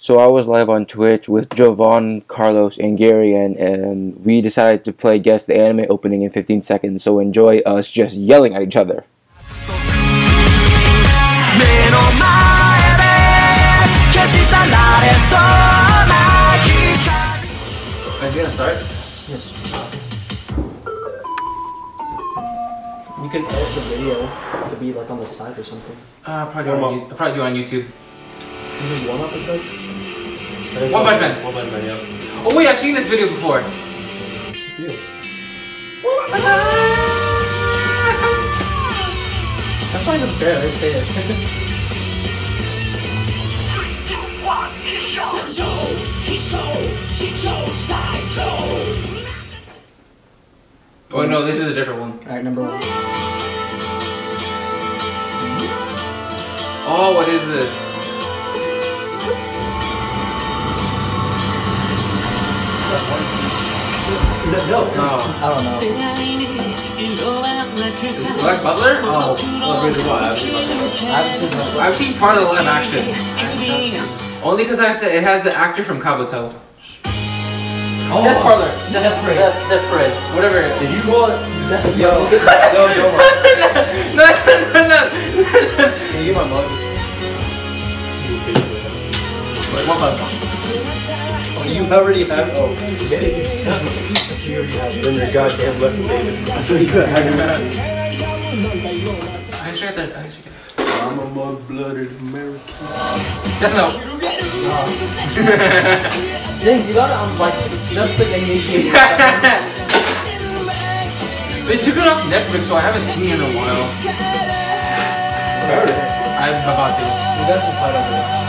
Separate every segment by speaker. Speaker 1: So I was live on Twitch with Jovan, Carlos, and Gary, and, and we decided to play Guess the Anime opening in 15 seconds. So enjoy us just yelling at each other.
Speaker 2: 目の前で消し去られそうな光
Speaker 3: Are you gonna start?
Speaker 4: You can edit the video to be like on the side or something.
Speaker 3: Uh, probably do it on, you- I'll probably do it on YouTube.
Speaker 4: Is it warm up episode?
Speaker 3: One Punch Man. One Punch Man. Oh wait, I've seen this video before.
Speaker 4: That's not even fair. Right there.
Speaker 3: Oh no, this is a different one.
Speaker 4: All right, number one.
Speaker 3: Oh, what is this?
Speaker 4: No,
Speaker 3: Oh,
Speaker 4: I don't know.
Speaker 3: is it Black Butler? Oh,
Speaker 4: I've seen that.
Speaker 3: I've seen part of the live action. Only because I said it has the actor from Kabuto. Oh, Death Parlor.
Speaker 4: Death Parade. Death, Death Parade.
Speaker 3: Whatever.
Speaker 5: Did you call it?
Speaker 4: Death
Speaker 5: Yo, yo, yo, Mark.
Speaker 3: no, no, no.
Speaker 5: Can you get my mug?
Speaker 3: Wait, One Punch Man.
Speaker 5: You already have. Oh, get it yourself. Learn your goddamn lesson, David. I thought you could have your
Speaker 3: I actually got the. I actually got
Speaker 5: I'm a mug blooded American.
Speaker 3: the- Death Note.
Speaker 4: Dang, you got it on like just the initiating. button.
Speaker 3: they took it off Netflix, so I haven't seen it in a while. I'm about to.
Speaker 4: you guys can fight over it.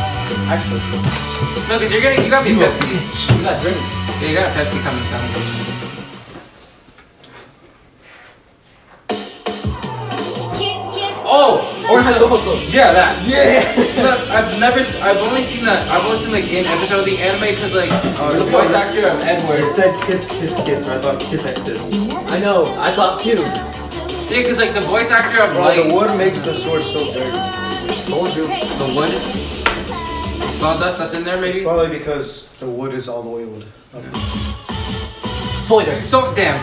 Speaker 4: Actually,
Speaker 3: No, because you're gonna. You got me a Pepsi.
Speaker 4: we got drinks.
Speaker 3: Yeah, you got a Pepsi coming soon. Oh!
Speaker 4: Or has
Speaker 3: Or
Speaker 4: Overcoat.
Speaker 3: yeah, that. Yeah. Look, I've never, s- I've only seen that. I've only seen like an episode of the anime because like uh, the voice actor of
Speaker 5: It
Speaker 3: Edward.
Speaker 5: said kiss, kiss, kiss, and I thought kiss exes.
Speaker 4: I know. I thought too.
Speaker 3: Yeah, because like the voice actor of
Speaker 5: Bro,
Speaker 3: like
Speaker 5: the wood makes the sword so dirty.
Speaker 4: Told you.
Speaker 3: the wood, sawdust that's in there maybe.
Speaker 5: Probably because the wood is all oiled.
Speaker 4: Soy there.
Speaker 3: So damn.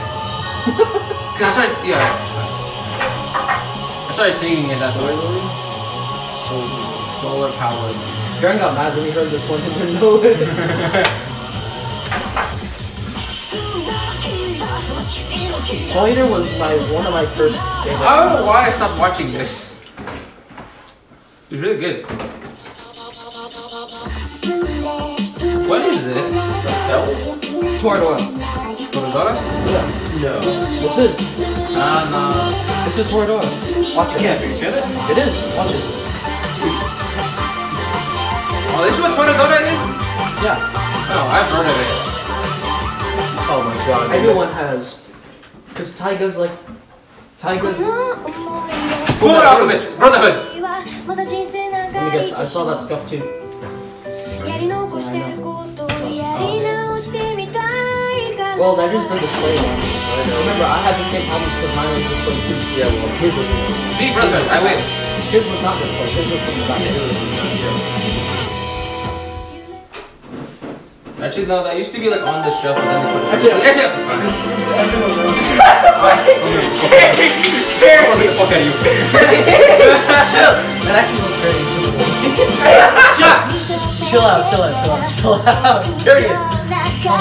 Speaker 3: 'Cause I started, yeah. I started singing it. That's why. Solar power.
Speaker 4: Garen got mad when he heard this one and didn't know it. Soy there was my one of my first favorite.
Speaker 3: I don't know why I stopped watching this. It's really good. What is this?
Speaker 4: Sword Oil.
Speaker 3: Pomodoro?
Speaker 5: No.
Speaker 4: What's this?
Speaker 3: Ah, no.
Speaker 4: This is Sword Oil. Watch it. It is. Watch it.
Speaker 3: Oh, this is what Pomodoro is?
Speaker 4: Yeah.
Speaker 3: Oh, I've heard of it.
Speaker 5: Oh my god.
Speaker 4: Everyone has. Because Taiga's like. Taiga's. Let
Speaker 3: Full Alchemist Brotherhood.
Speaker 4: me guess. I saw that stuff too.
Speaker 6: やり残してることをやり直してみたいから
Speaker 4: Well, that is the display one. Remember, I had the same albums because mine was displayed too.
Speaker 5: Yeah, well,
Speaker 4: His was the
Speaker 3: Me, Brotherhood. I win.
Speaker 4: His was not displayed. His was from the back.
Speaker 3: Actually, no, that used to be like on the shelf, but then they put it.
Speaker 4: That's it.
Speaker 3: That's it.
Speaker 4: That actually looks very cool. chill out, chill out, chill out, chill out. Period. Calm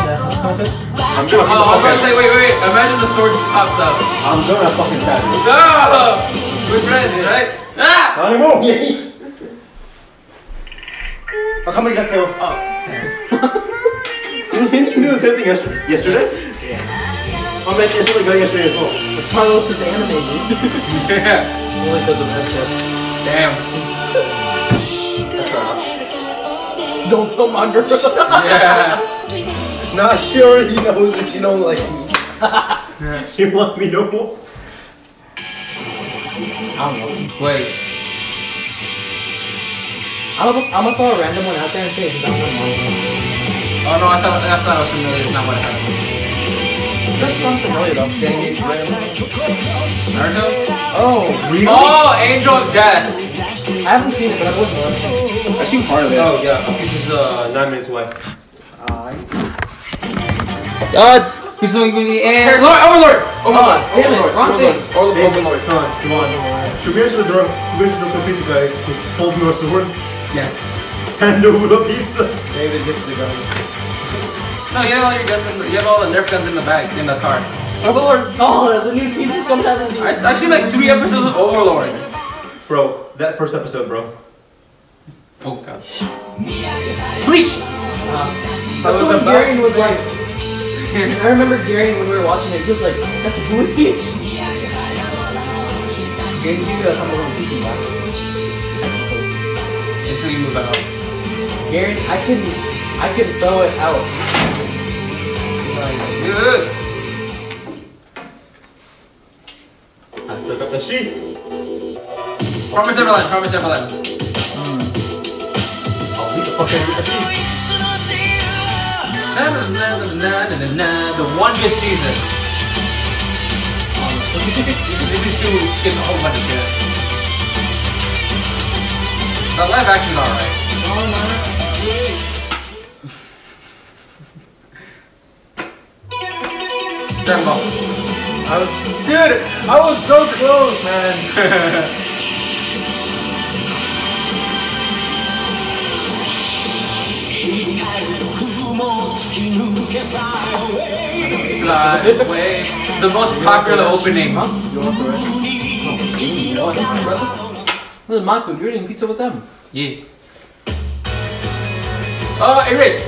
Speaker 4: down.
Speaker 5: I'm gonna
Speaker 3: Oh, I was gonna say, wait, wait, wait. Imagine the sword just pops up.
Speaker 5: I'm gonna fucking tag
Speaker 3: No! We're friends, right? Ah!
Speaker 5: Not anymore! Oh, come on, Gecko.
Speaker 3: Oh,
Speaker 5: Didn't you do the same thing yesterday? Yesterday? Yeah. Oh man, it's like going yesterday as well.
Speaker 4: Carlos is animated.
Speaker 3: yeah.
Speaker 4: Only because of Esther.
Speaker 3: Damn.
Speaker 4: Don't tell my girl.
Speaker 3: Yeah.
Speaker 5: Nah, she already knows that she don't like me. she want me no more.
Speaker 4: I don't know.
Speaker 3: Wait.
Speaker 4: I'm gonna I'm gonna throw a random one out there and say it's about my mom.
Speaker 3: Oh no, I thought I thought I was familiar. Not what I thought.
Speaker 4: This sounds familiar though. Dang it, random.
Speaker 3: Naruto.
Speaker 4: Oh,
Speaker 3: Oh, Angel of Death.
Speaker 4: I haven't seen it, but I would love it.
Speaker 3: I've seen part of it.
Speaker 5: Oh yeah, this is uh, nine minutes away.
Speaker 1: God,
Speaker 3: He's doing the and
Speaker 1: Lord,
Speaker 3: Overlord. Overlord.
Speaker 1: Ah,
Speaker 3: Damn it. Wrong thing.
Speaker 5: Hey,
Speaker 3: Overlord.
Speaker 5: Overlord, come on, come on. Tribute to the drum, tribute to the pizza guy with both your swords
Speaker 3: Yes.
Speaker 5: and the real pizza.
Speaker 7: David gets the gun.
Speaker 3: No, you have all your guns. In the, you have all the Nerf guns in the bag in the car.
Speaker 7: Overlord.
Speaker 4: Oh, the new season's coming out in the
Speaker 3: I, I've seen like three episodes of Overlord.
Speaker 5: Bro, that first episode, bro.
Speaker 3: Oh god. Bleach.
Speaker 4: That's what Garion was like. I remember Garion when we were watching it, he was like, that's bleach. Garion, you got something on TV, man.
Speaker 3: Until you move out.
Speaker 4: Garion, I can, I can throw it out. Oh, Like,
Speaker 3: Good.
Speaker 5: I stuck up the sheet.
Speaker 3: Promise Neverland. Promise Neverland.
Speaker 5: I'll leave the fucking the sheet.
Speaker 3: Na, na, na, na, na, na, na, The one good season. this is too skipping a whole bunch of shit. The live action's alright. Dragon Ball.
Speaker 7: I was, dude, I was so close, man.
Speaker 3: Fly away. The most popular opening.
Speaker 4: this is Maku, you're eating pizza with them.
Speaker 3: Yeah. Uh, Erase.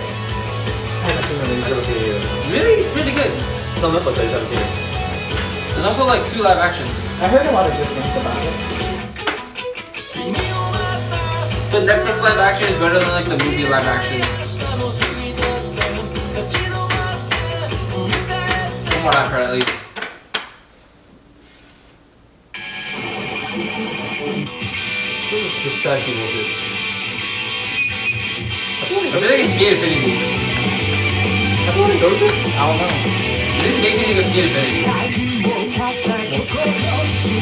Speaker 3: Really? It's really good.
Speaker 5: It's on Netflix. I just haven't seen it.
Speaker 3: There's also like two live actions.
Speaker 4: I heard a lot of good things about it.
Speaker 3: The Netflix live action is better than like the movie live action. From what I've heard at least.
Speaker 5: This is sad people do.
Speaker 3: I feel like it's Skate Infinity.
Speaker 5: Have you already noticed this?
Speaker 4: I don't know.
Speaker 3: This makes me think of Skate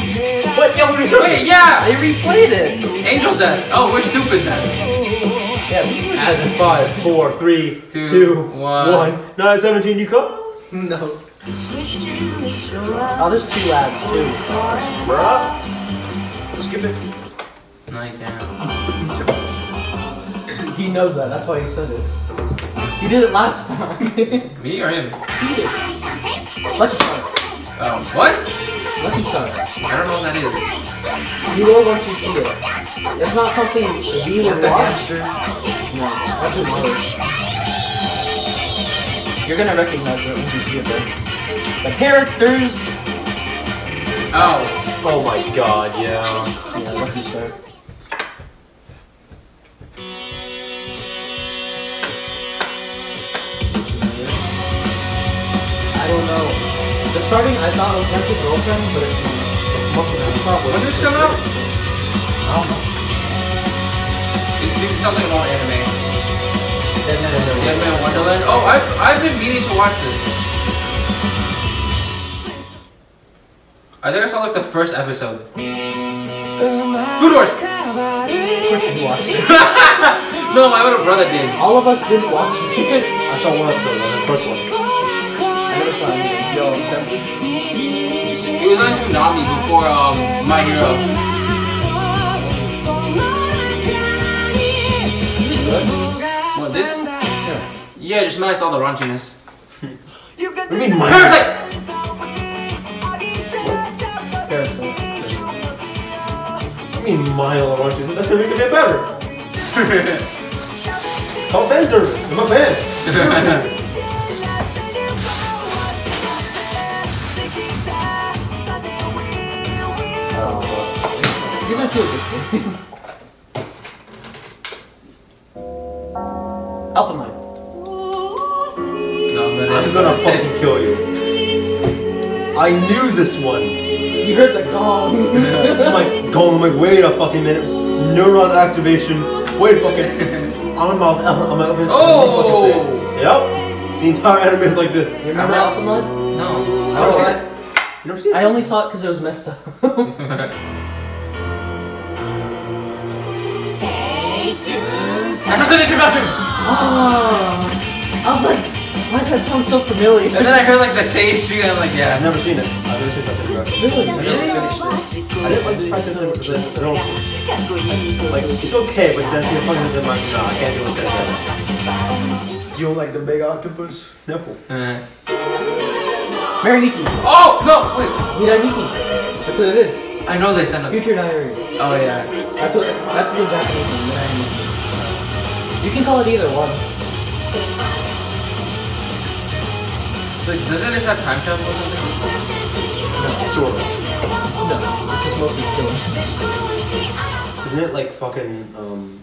Speaker 3: Infinity.
Speaker 4: But yeah, we
Speaker 3: Wait, yeah!
Speaker 4: They replayed it.
Speaker 3: Angel's Death. Oh, we're stupid then.
Speaker 4: Yeah, we were
Speaker 5: As is five, four, three,
Speaker 3: Two,
Speaker 5: two,
Speaker 3: one.
Speaker 5: one. Nine seventeen. You come.
Speaker 7: No.
Speaker 4: Oh, there's two lads too.
Speaker 5: Bruh. Skip it.
Speaker 3: No, you can't.
Speaker 4: He knows that. That's why he said it. He did it last time.
Speaker 3: Me or him?
Speaker 4: Lucky Star.
Speaker 3: Oh, what?
Speaker 4: Lucky Star.
Speaker 3: I don't know what that is.
Speaker 4: You will once you see it. It's not something we would watch. No, that's just weird. You're gonna recognize it once you see it. Though. The characters.
Speaker 3: Oh.
Speaker 5: Oh my god. Yeah.
Speaker 4: Yeah, Lucky Star. I don't know. The starting, I thought it was Empty Girlfriend, but it's not. It's fucking it's not
Speaker 3: When did this come out?
Speaker 4: I don't know.
Speaker 3: It seems something more anime.
Speaker 4: Dead Man in the
Speaker 3: Dead Man Wonderland. Oh, I've, I've been meaning to watch this. I think I saw like the first episode. Food Wars!
Speaker 4: Christian watched it.
Speaker 3: No, my little brother did.
Speaker 4: All of us didn't watch it.
Speaker 5: I saw one episode. The first one.
Speaker 4: I never saw it. Yo, okay.
Speaker 3: It was on Toonami before um, My Hero. What, this? Yeah, just minus all the raunchiness.
Speaker 5: What do you mean mine?
Speaker 3: Parasite!
Speaker 4: Parasite.
Speaker 5: What do you mean mine all at once? That's gonna make it get better. Call fan service. I'm a fan.
Speaker 4: These are two of them. Alpha Mine.
Speaker 3: No, but
Speaker 5: I'm gonna fucking kill you. I knew this one. Oh
Speaker 4: You heard the gong.
Speaker 5: I'm like going. I'm like wait a fucking minute. Neuron activation. Wait a fucking. I'm mouth. I'm like. I'm
Speaker 3: Oh!
Speaker 5: Yep. The entire anime is like this.
Speaker 4: You
Speaker 5: You
Speaker 4: remember
Speaker 3: I'm
Speaker 4: Alpha Mine?
Speaker 3: No. I don't see that.
Speaker 5: never seen it?
Speaker 4: I only saw it because it was messed up.
Speaker 3: Impersonation bathroom!
Speaker 4: Oh. I was like, why does that sound so familiar?
Speaker 3: And then I heard like the sage shoot, and I'm like,
Speaker 5: I've
Speaker 3: yeah.
Speaker 5: never seen it. I've never seen Sasaki Rock. I didn't like the fact that it was the film. Like, it's okay, but that's the fucking is in my no, I can't do what's that.
Speaker 7: You don't like the big octopus?
Speaker 5: No.
Speaker 3: Uh,
Speaker 4: Mariniki.
Speaker 3: oh no!
Speaker 4: Miraniki. That's what it is.
Speaker 3: Wait, I know this. I know.
Speaker 4: Future diary.
Speaker 3: Oh yeah.
Speaker 4: That's what. That's the Japanese name. Miraniki. You can call it either one.
Speaker 3: Like, doesn't this have time travel or something?
Speaker 5: Sure.
Speaker 4: No, it's just mostly killing.
Speaker 5: Isn't it like fucking, um,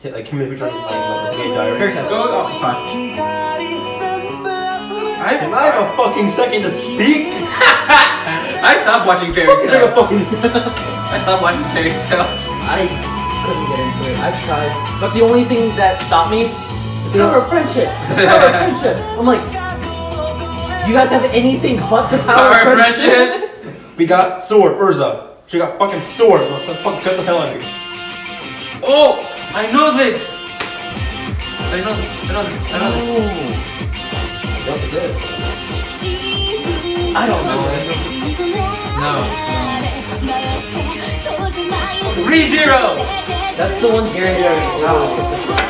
Speaker 5: hit, like, Kimi Future, like, like, gay diary?
Speaker 4: Parasite.
Speaker 3: Go. Oh, fine.
Speaker 5: Am
Speaker 3: I
Speaker 5: I have a fucking second to speak?
Speaker 3: I stopped watching fairy
Speaker 5: Fucking like a
Speaker 3: tale.
Speaker 5: fucking.
Speaker 3: I stopped watching fairy tale.
Speaker 4: I couldn't get into it. I've tried. But the only thing that stopped me is the power of friendship. The power of friendship. I'm like, you guys have anything but the power,
Speaker 3: Power
Speaker 4: of friendship?
Speaker 5: We got sword, Urza. She got fucking sword. Fuck, cut the hell out of here.
Speaker 3: Oh, I know this. I know. I know this. I know this.
Speaker 5: Yep, that's it.
Speaker 4: I don't know.
Speaker 6: No.
Speaker 3: ReZero!
Speaker 4: That's the one Gary Gary always took this one.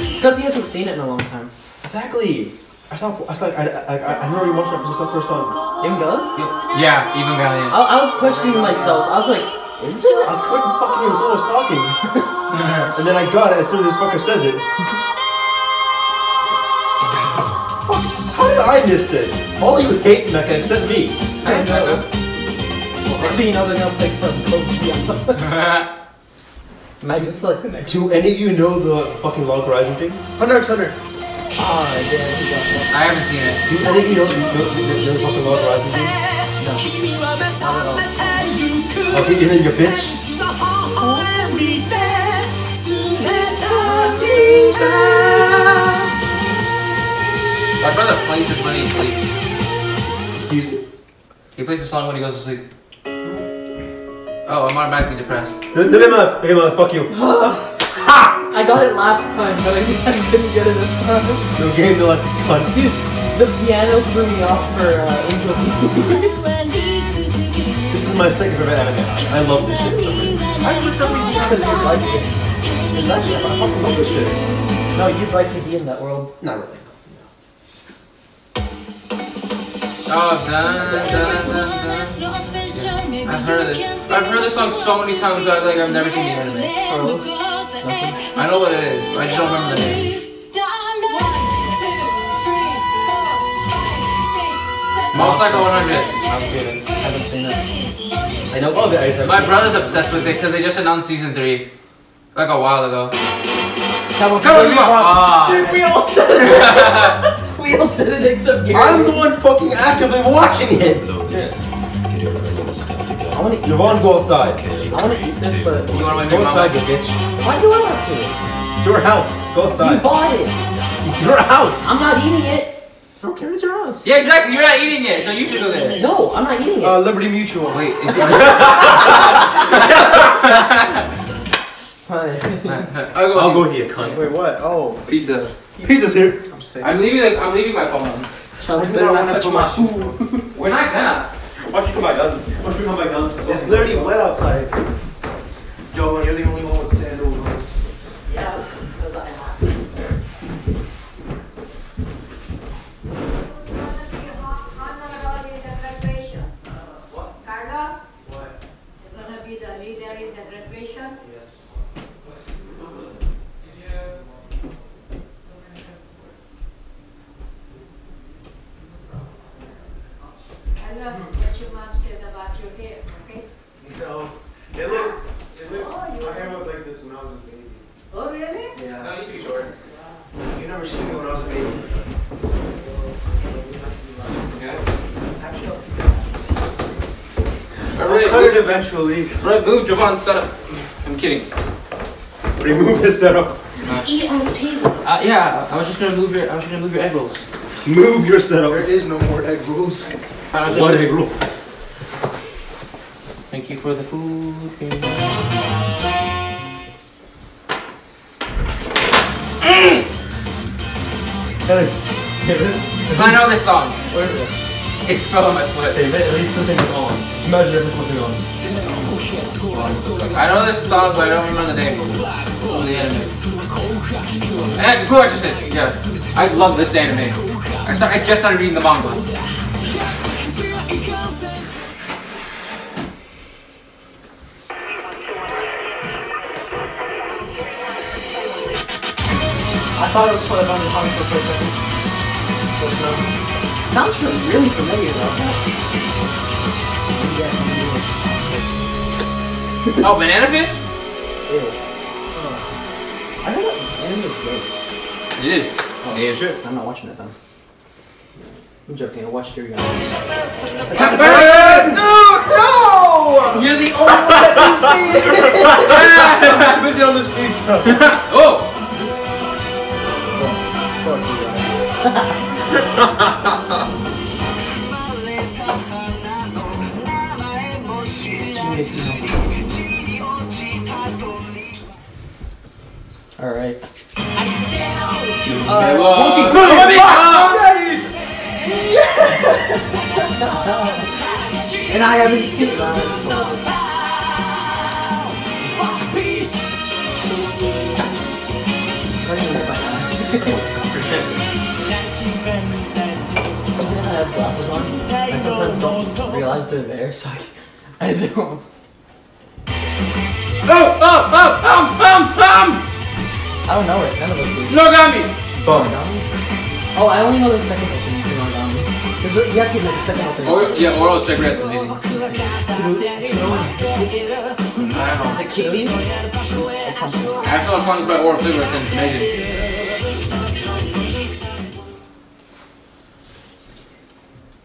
Speaker 4: It's because he hasn't seen it in a long time.
Speaker 5: Exactly. I stopped. I stopped. I, I, I, I never watched it for the first time.
Speaker 4: Evangelion?
Speaker 3: yeah, Evangelion.
Speaker 4: I, I was questioning myself. I was like, is there
Speaker 5: I
Speaker 4: a
Speaker 5: couldn't fucking hear someone was talking. and then I got it as soon as this fucker says it. Fuck, how did I miss this? All of you hate mecha except me.
Speaker 4: I know. Next thing you know, they're gonna play some Pokemon. Am I just like,
Speaker 5: Do any of you know the fucking Log Horizon thing?
Speaker 7: Hunter x Hunter.
Speaker 4: ah, yeah, he got that.
Speaker 3: I haven't seen it.
Speaker 5: Do any of you know, know, know, know the fucking Log Horizon thing? Okay, and then your bitch.
Speaker 3: My brother plays this when he sleeps.
Speaker 5: Excuse me.
Speaker 3: He plays the song when he goes to sleep. Oh, I'm automatically depressed.
Speaker 5: No, no, no, no, no, no, fuck you.
Speaker 4: I got it last time, but I, I couldn't get it this time.
Speaker 5: No game, no life, cunt.
Speaker 4: Dude, the piano threw me off for uh, Angel.
Speaker 5: This is my second favorite anime. I love this shit. for some reason. I fucking love this shit.
Speaker 4: no, you'd like to be in that world.
Speaker 5: Not really.
Speaker 3: Oh, dun, dun, dun, dun. I've heard it. I've heard this song so many times that like I've never seen the anime. I know what it is. I just don't remember the name. Motorcycle 100.
Speaker 5: I've seen it.
Speaker 4: Haven't seen it.
Speaker 5: I know all of it. I just
Speaker 3: My brother's obsessed with it because they just announced season three, like a while ago.
Speaker 4: Cowboy
Speaker 3: Ah,
Speaker 5: Dude, we all said it.
Speaker 4: We all said it except Gary.
Speaker 5: I'm the one fucking actively watching it.
Speaker 4: I want to eat.
Speaker 5: Javon, go outside.
Speaker 4: I want to eat this, but
Speaker 3: you want to
Speaker 5: Go
Speaker 3: make my
Speaker 5: outside, you
Speaker 3: mom?
Speaker 5: bitch.
Speaker 4: why do I have to?
Speaker 5: It's your house. Go
Speaker 4: You
Speaker 5: outside.
Speaker 4: bought it.
Speaker 5: It's your house.
Speaker 4: I'm not eating it. I don't care. It's your house.
Speaker 3: Yeah, exactly. You're not eating it, so you should go there.
Speaker 4: No, I'm not eating it.
Speaker 7: Uh, Liberty Mutual.
Speaker 3: Wait, is it?
Speaker 4: Fine.
Speaker 3: I'll go.
Speaker 5: I'll go here, cunt.
Speaker 7: Wait, what? Oh,
Speaker 3: Pizza.
Speaker 5: Pizza's here.
Speaker 7: I'm staying.
Speaker 3: I'm leaving. Like, I'm leaving my phone.
Speaker 4: Charlie,
Speaker 7: do
Speaker 4: better
Speaker 7: I
Speaker 4: not
Speaker 7: wanna
Speaker 4: touch
Speaker 7: put
Speaker 4: my
Speaker 7: my
Speaker 4: food.
Speaker 3: We're not gonna.
Speaker 5: Watch you come back down. Watch you come back down.
Speaker 7: It's literally wet outside. Joe, you're the only one with sandals.
Speaker 8: Carlos
Speaker 7: Uh, What?
Speaker 8: is going to be the leader in the graduation.
Speaker 7: Yes.
Speaker 8: Carlos, what your mom said about your hair, okay?
Speaker 7: No. It looked. It looks.
Speaker 8: Oh, you-
Speaker 7: My hair was like this when I was a baby.
Speaker 8: Oh, really?
Speaker 7: Yeah.
Speaker 3: used to be short.
Speaker 7: You never seen me when I was a baby.
Speaker 3: Yeah.
Speaker 7: Actually, I'll cut
Speaker 3: Alright,
Speaker 7: it eventually.
Speaker 3: right, move Javon's setup. I'm kidding.
Speaker 5: Remove his setup.
Speaker 3: Uh, yeah, I was just gonna move your, I was gonna move your egg rolls.
Speaker 5: Move your
Speaker 7: There
Speaker 5: setup.
Speaker 7: is no more egg rolls.
Speaker 3: I was
Speaker 5: What
Speaker 3: gonna-
Speaker 5: a rule.
Speaker 3: Thank you for the food.
Speaker 5: David,
Speaker 3: I know this song.
Speaker 5: where is it?
Speaker 3: It fell on my foot.
Speaker 5: David, at least this thing was on. Imagine if this wasn't on.
Speaker 3: I know this song, but I don't remember the name of the anime. And Blue Exorcist, yeah. I love this anime. I, start, I just started reading the manga.
Speaker 4: I thought it was for the Bunny Hong for a second. Just now. Sounds really, really familiar though.
Speaker 3: Oh, Banana Fish?
Speaker 4: Ew. I heard that anime is gay.
Speaker 3: It is.
Speaker 7: Yeah, sure.
Speaker 4: I'm not watching it then. I'm joking, I watched your guys.
Speaker 3: Attack Titan!
Speaker 7: No,
Speaker 3: You're the only
Speaker 7: no! I'm busy on this pizza.
Speaker 3: Oh!
Speaker 4: Fuck you guys. Alright.
Speaker 3: It was-
Speaker 4: And I haven't seen Oh, that. I have glasses on. I sometimes don't realize they're there, so I, I don't.
Speaker 3: Oh, oh, oh, um, um, um!
Speaker 4: I don't know it. None of us do.
Speaker 3: Nogami!
Speaker 7: Bum.
Speaker 4: Oh, I only know the second opening to Nogami. um, 'Cause the- You have to know the second opening.
Speaker 3: Or, yeah, oral cigarettes amazing. I don't know. I have to learn songs about oral cigarettes and amazing.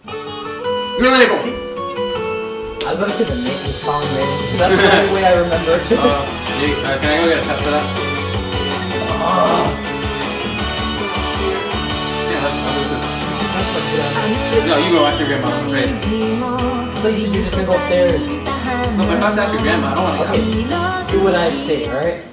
Speaker 3: Your label!
Speaker 4: I was about to say the name, the song name. 'cause That's the only way I remember.
Speaker 3: Uh, you, uh, can I go get a test for that? Yeah, that's, that's good. No, you go ask your grandma. Right.
Speaker 4: so you said you're just gonna go upstairs.
Speaker 3: No, but if I have to ask your grandma, I don't want to.
Speaker 4: Okay, do what I say, alright?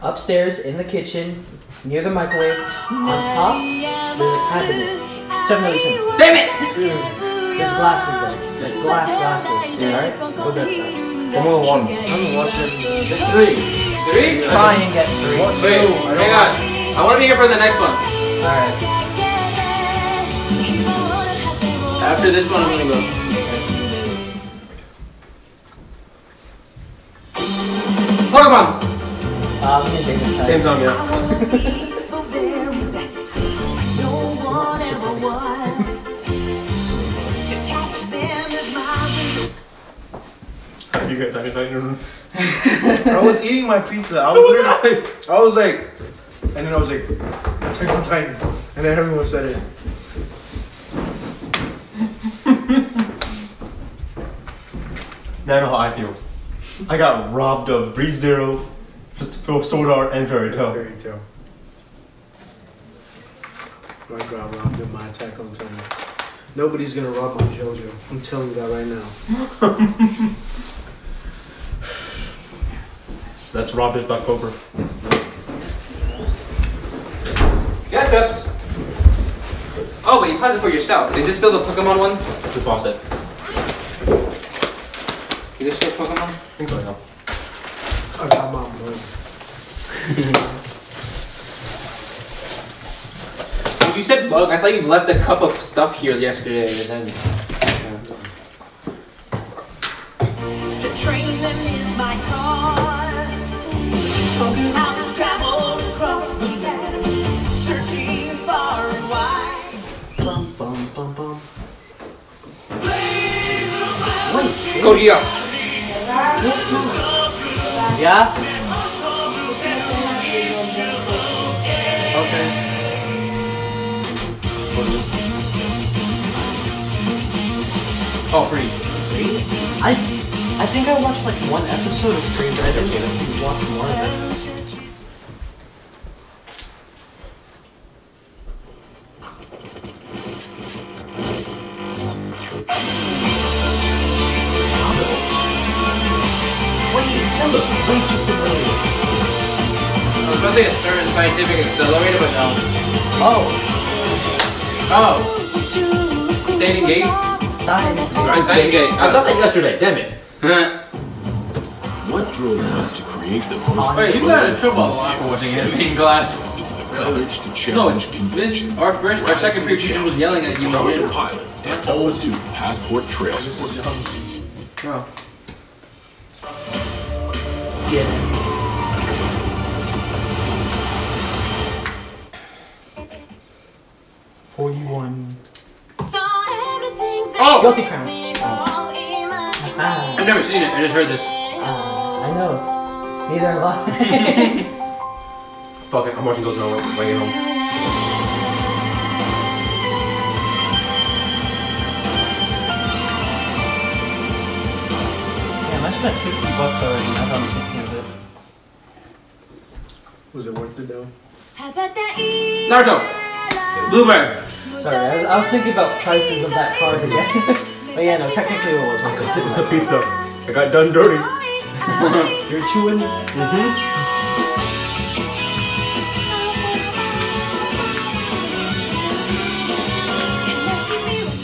Speaker 4: Upstairs, in the kitchen, near the microwave, on top, there's a cabinet. Seven other cents.
Speaker 3: Damn it!
Speaker 4: There's glasses there. There's glass glasses. Yeah, alright? Go get that.
Speaker 7: Formula One.
Speaker 4: I'm watching three.
Speaker 3: Three?
Speaker 4: Try and get three.
Speaker 3: Wait, hang on. Oh, I want to be here for the next one.
Speaker 4: Alright.
Speaker 3: After this one, I'm gonna go. Pokemon!
Speaker 4: Uh, we can take the time.
Speaker 7: Same time, yeah.
Speaker 5: You got Titan Titan.
Speaker 7: I was eating my pizza. I was, literally- I was like, and then I was like, Attack on Titan. And then everyone said it.
Speaker 5: Now I know how I feel. I got robbed of Breeze Zero, for, for Sword Art, and Fairy Tail.
Speaker 7: Fairy tale. My God robbed in my Attack on Titan. Nobody's gonna rob my JoJo. I'm telling you that right now.
Speaker 5: That's robbed as Black Cobra.
Speaker 3: Yeah, Pips! Oh, but you paused it for yourself. Is this still the Pokemon one?
Speaker 5: Just lost it.
Speaker 3: Is this still Pokemon?
Speaker 5: I think so now.
Speaker 7: I got my money.
Speaker 3: When you said bug, I thought you left a cup of stuff here yesterday and then.
Speaker 4: Bum, bum, bum, bum.
Speaker 3: Go to us.
Speaker 4: Yeah?
Speaker 3: Okay. Oh, free.
Speaker 4: I I think I watched like one episode of Free Red. I didn't watch more of it.
Speaker 3: I was about was thinking Stern Scientific Accelerator, but no.
Speaker 4: Oh,
Speaker 3: Oh, Standing Gate?
Speaker 4: science.
Speaker 3: Stern Scientific Gate.
Speaker 5: I thought that yesterday. Damn it.
Speaker 3: Wait,
Speaker 9: What drove us to create the most
Speaker 3: you got in trouble a lot for watching Teen Glass.
Speaker 9: It's the courage to
Speaker 3: No,
Speaker 9: challenge
Speaker 3: this,
Speaker 9: convention.
Speaker 3: our first, our second preview was yelling at you.
Speaker 9: Career pilot and all new passport trail sports.
Speaker 3: Oh.
Speaker 4: Skip. Forty-one.
Speaker 3: Oh!
Speaker 4: Guilty crown. Ah.
Speaker 3: I've never seen it, I just heard this.
Speaker 4: I know. Neither have I.
Speaker 5: Fuck it. I'm watching those now when I get home.
Speaker 4: Damn, I spent fifty bucks already. I don't think of it.
Speaker 7: Was it worth it though?
Speaker 3: Naruto! Blueberry!
Speaker 4: Sorry, I was, I was thinking about prices of that card again. but yeah, no, technically it was my
Speaker 5: The pizza. I got done dirty.
Speaker 4: You're chewing. Mm-hmm.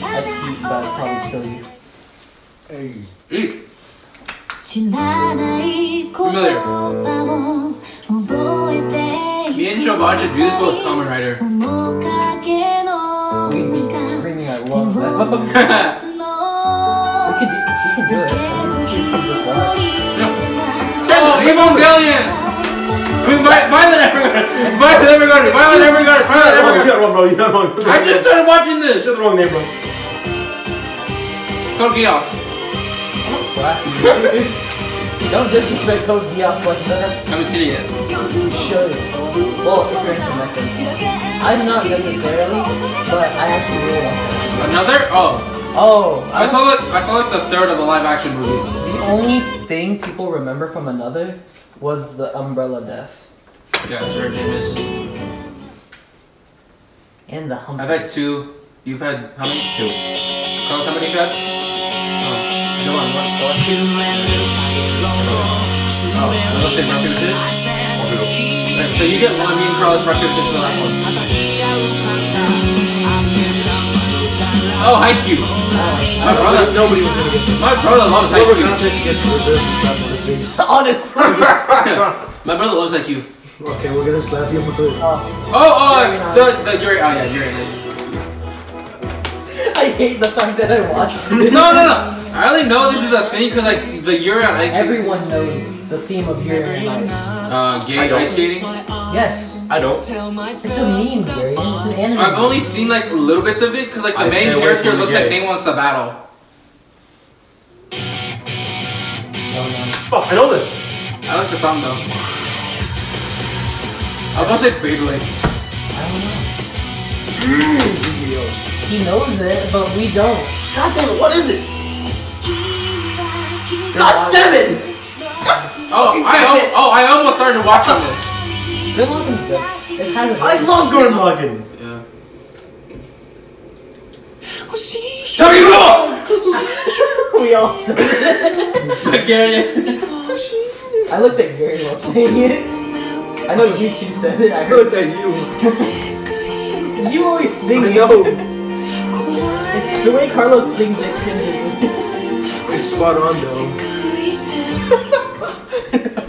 Speaker 4: That, that'd probably kill you.
Speaker 7: Hey.
Speaker 3: Eat!
Speaker 6: 知らない言葉を覚えて
Speaker 3: Me
Speaker 6: い
Speaker 3: and Jovan should do this both Kamen Rider.
Speaker 6: 面影の
Speaker 4: We'd
Speaker 6: 中
Speaker 4: be screaming at once. we can,
Speaker 6: の
Speaker 4: we can do it. Just watch.
Speaker 3: Oh, Evangelion! I mean, Vi- Violet Evergarden! Violet Evergarden! Violet Evergarden!
Speaker 5: Oh,
Speaker 3: Violet
Speaker 5: you
Speaker 3: Evergarden!
Speaker 5: got it wrong, bro. You got it wrong. You
Speaker 3: I just started watching this!
Speaker 5: said the wrong name, bro.
Speaker 3: Code Geass.
Speaker 4: Slap you. Don't disrespect Code Geass like that.
Speaker 3: I haven't seen it yet.
Speaker 4: You should. Well, if you're into mecha. I'm not necessarily, but I actually really like it.
Speaker 3: Another? Oh.
Speaker 4: Oh,
Speaker 3: I
Speaker 4: I
Speaker 3: saw like, I saw like the third of a live action movie.
Speaker 4: the only thing people remember from another was the Umbrella Death
Speaker 3: Yeah, it's very famous.
Speaker 4: and the Humble.
Speaker 3: I've had two. You've had how many? Two. Carlos, how many you had? Oh. Come on, what? what? Oh, I love saying Rocky Richard. Alright, so you get one, me and Carlos Rocky Richard for the last one. Oh, Haikyuu! My brother,
Speaker 5: Nobody was gonna get this.
Speaker 3: my brother loves
Speaker 5: Nobody was
Speaker 3: Haikyuu.
Speaker 5: gonna get this.
Speaker 4: Honestly!
Speaker 3: My brother loves Haikyuu.
Speaker 5: Okay, we're gonna slap you for this.
Speaker 3: Oh, oh, the, the Yuri, oh yeah, Yuri it is.
Speaker 4: I hate the fact that I watched it.
Speaker 3: No, no, no. I only know this is a thing because like the Yuri on ice skating.
Speaker 4: Everyone knows the theme of Yuri and Ice.
Speaker 3: Uh, gay ice skating.
Speaker 4: uh, Yes,
Speaker 5: I don't.
Speaker 4: it's a meme, Yuri. and It's an anime.
Speaker 3: I've only seen like little bits of it because like the
Speaker 5: I stay
Speaker 3: main
Speaker 5: away
Speaker 3: character
Speaker 5: from the
Speaker 3: looks like
Speaker 5: gay.
Speaker 3: they wants to battle.
Speaker 5: Fuck, I know this.
Speaker 3: I like the song though. I was gonna say Beyblade.
Speaker 4: He knows it, but we don't.
Speaker 5: God damn it, what is it?
Speaker 4: God damn it!
Speaker 3: Oh, I al- oh I almost started watching this.
Speaker 4: Good luck and stuff. It has a
Speaker 5: I love Gurren Lagann.
Speaker 3: Yeah.
Speaker 4: We all said it.
Speaker 3: Gary.
Speaker 4: I looked at Gary while saying it. I know you two said it. I
Speaker 5: I
Speaker 4: heard
Speaker 5: looked at you.
Speaker 4: you always sing
Speaker 5: I
Speaker 4: it.
Speaker 5: know.
Speaker 4: It's the way Carlos sings it cringes
Speaker 5: It's spot on though.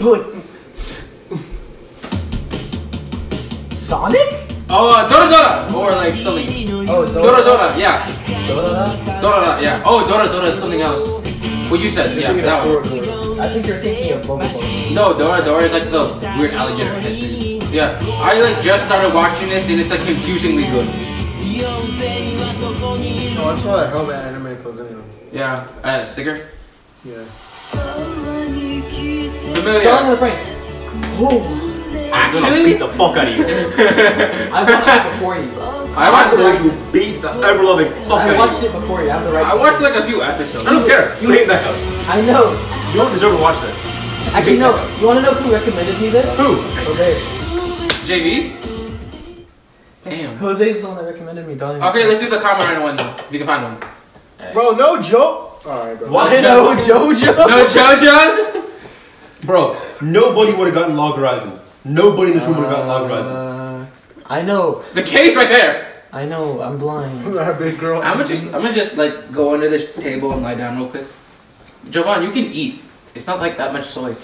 Speaker 4: me. Look. Sonic?
Speaker 3: Oh, uh, Dora Dora or like something.
Speaker 4: Oh,
Speaker 3: Dora Dora, yeah.
Speaker 4: Dora.
Speaker 3: Dora, yeah. Oh, Dora Dora is something else. What you said, yeah, that one.
Speaker 7: Oh,
Speaker 4: I think you're thinking of Bubble.
Speaker 3: No, Dora Dora is like the weird alligator head thing. Yeah, I like just started watching this and it's like confusingly good.
Speaker 7: No, I saw that helmet anime post anyway.
Speaker 3: Yeah, uh, sticker.
Speaker 7: Yeah.
Speaker 4: Dawn of
Speaker 3: Familiar.
Speaker 4: the Franks.
Speaker 5: I'm gonna beat
Speaker 3: Actually,
Speaker 5: the fuck out of you.
Speaker 4: I watched it before you.
Speaker 3: I
Speaker 5: I'm
Speaker 3: watched
Speaker 5: going
Speaker 3: like
Speaker 5: to beat the ever loving fuck
Speaker 4: I
Speaker 5: out of
Speaker 4: watched
Speaker 5: you.
Speaker 4: it before you. I have the right.
Speaker 3: I
Speaker 4: to
Speaker 3: watched
Speaker 4: say
Speaker 3: like a few episodes.
Speaker 5: I don't care. You hate that.
Speaker 4: it. I know.
Speaker 5: You don't deserve to watch this.
Speaker 4: Actually, no. You want to know who recommended me this?
Speaker 5: Who?
Speaker 4: Jose.
Speaker 3: JV. Damn.
Speaker 4: Jose's the one that recommended me Dawn of the
Speaker 3: Okay,
Speaker 4: Franks.
Speaker 3: let's do the Kamen Rider one though. If you can find one.
Speaker 7: Bro, no joke. All right, bro.
Speaker 5: Why
Speaker 4: No, JoJo.
Speaker 3: No JoJo's. Bro,
Speaker 5: Nobody would have gotten Log Horizon. Nobody in this room would have got Log Horizon.
Speaker 4: Uh, I know,
Speaker 3: The cave's right there.
Speaker 4: I know, I'm blind.
Speaker 7: That big girl.
Speaker 3: I'm gonna just, I'm gonna just like go under this table and lie down real quick. Jovan, you can eat. It's not like that much soy.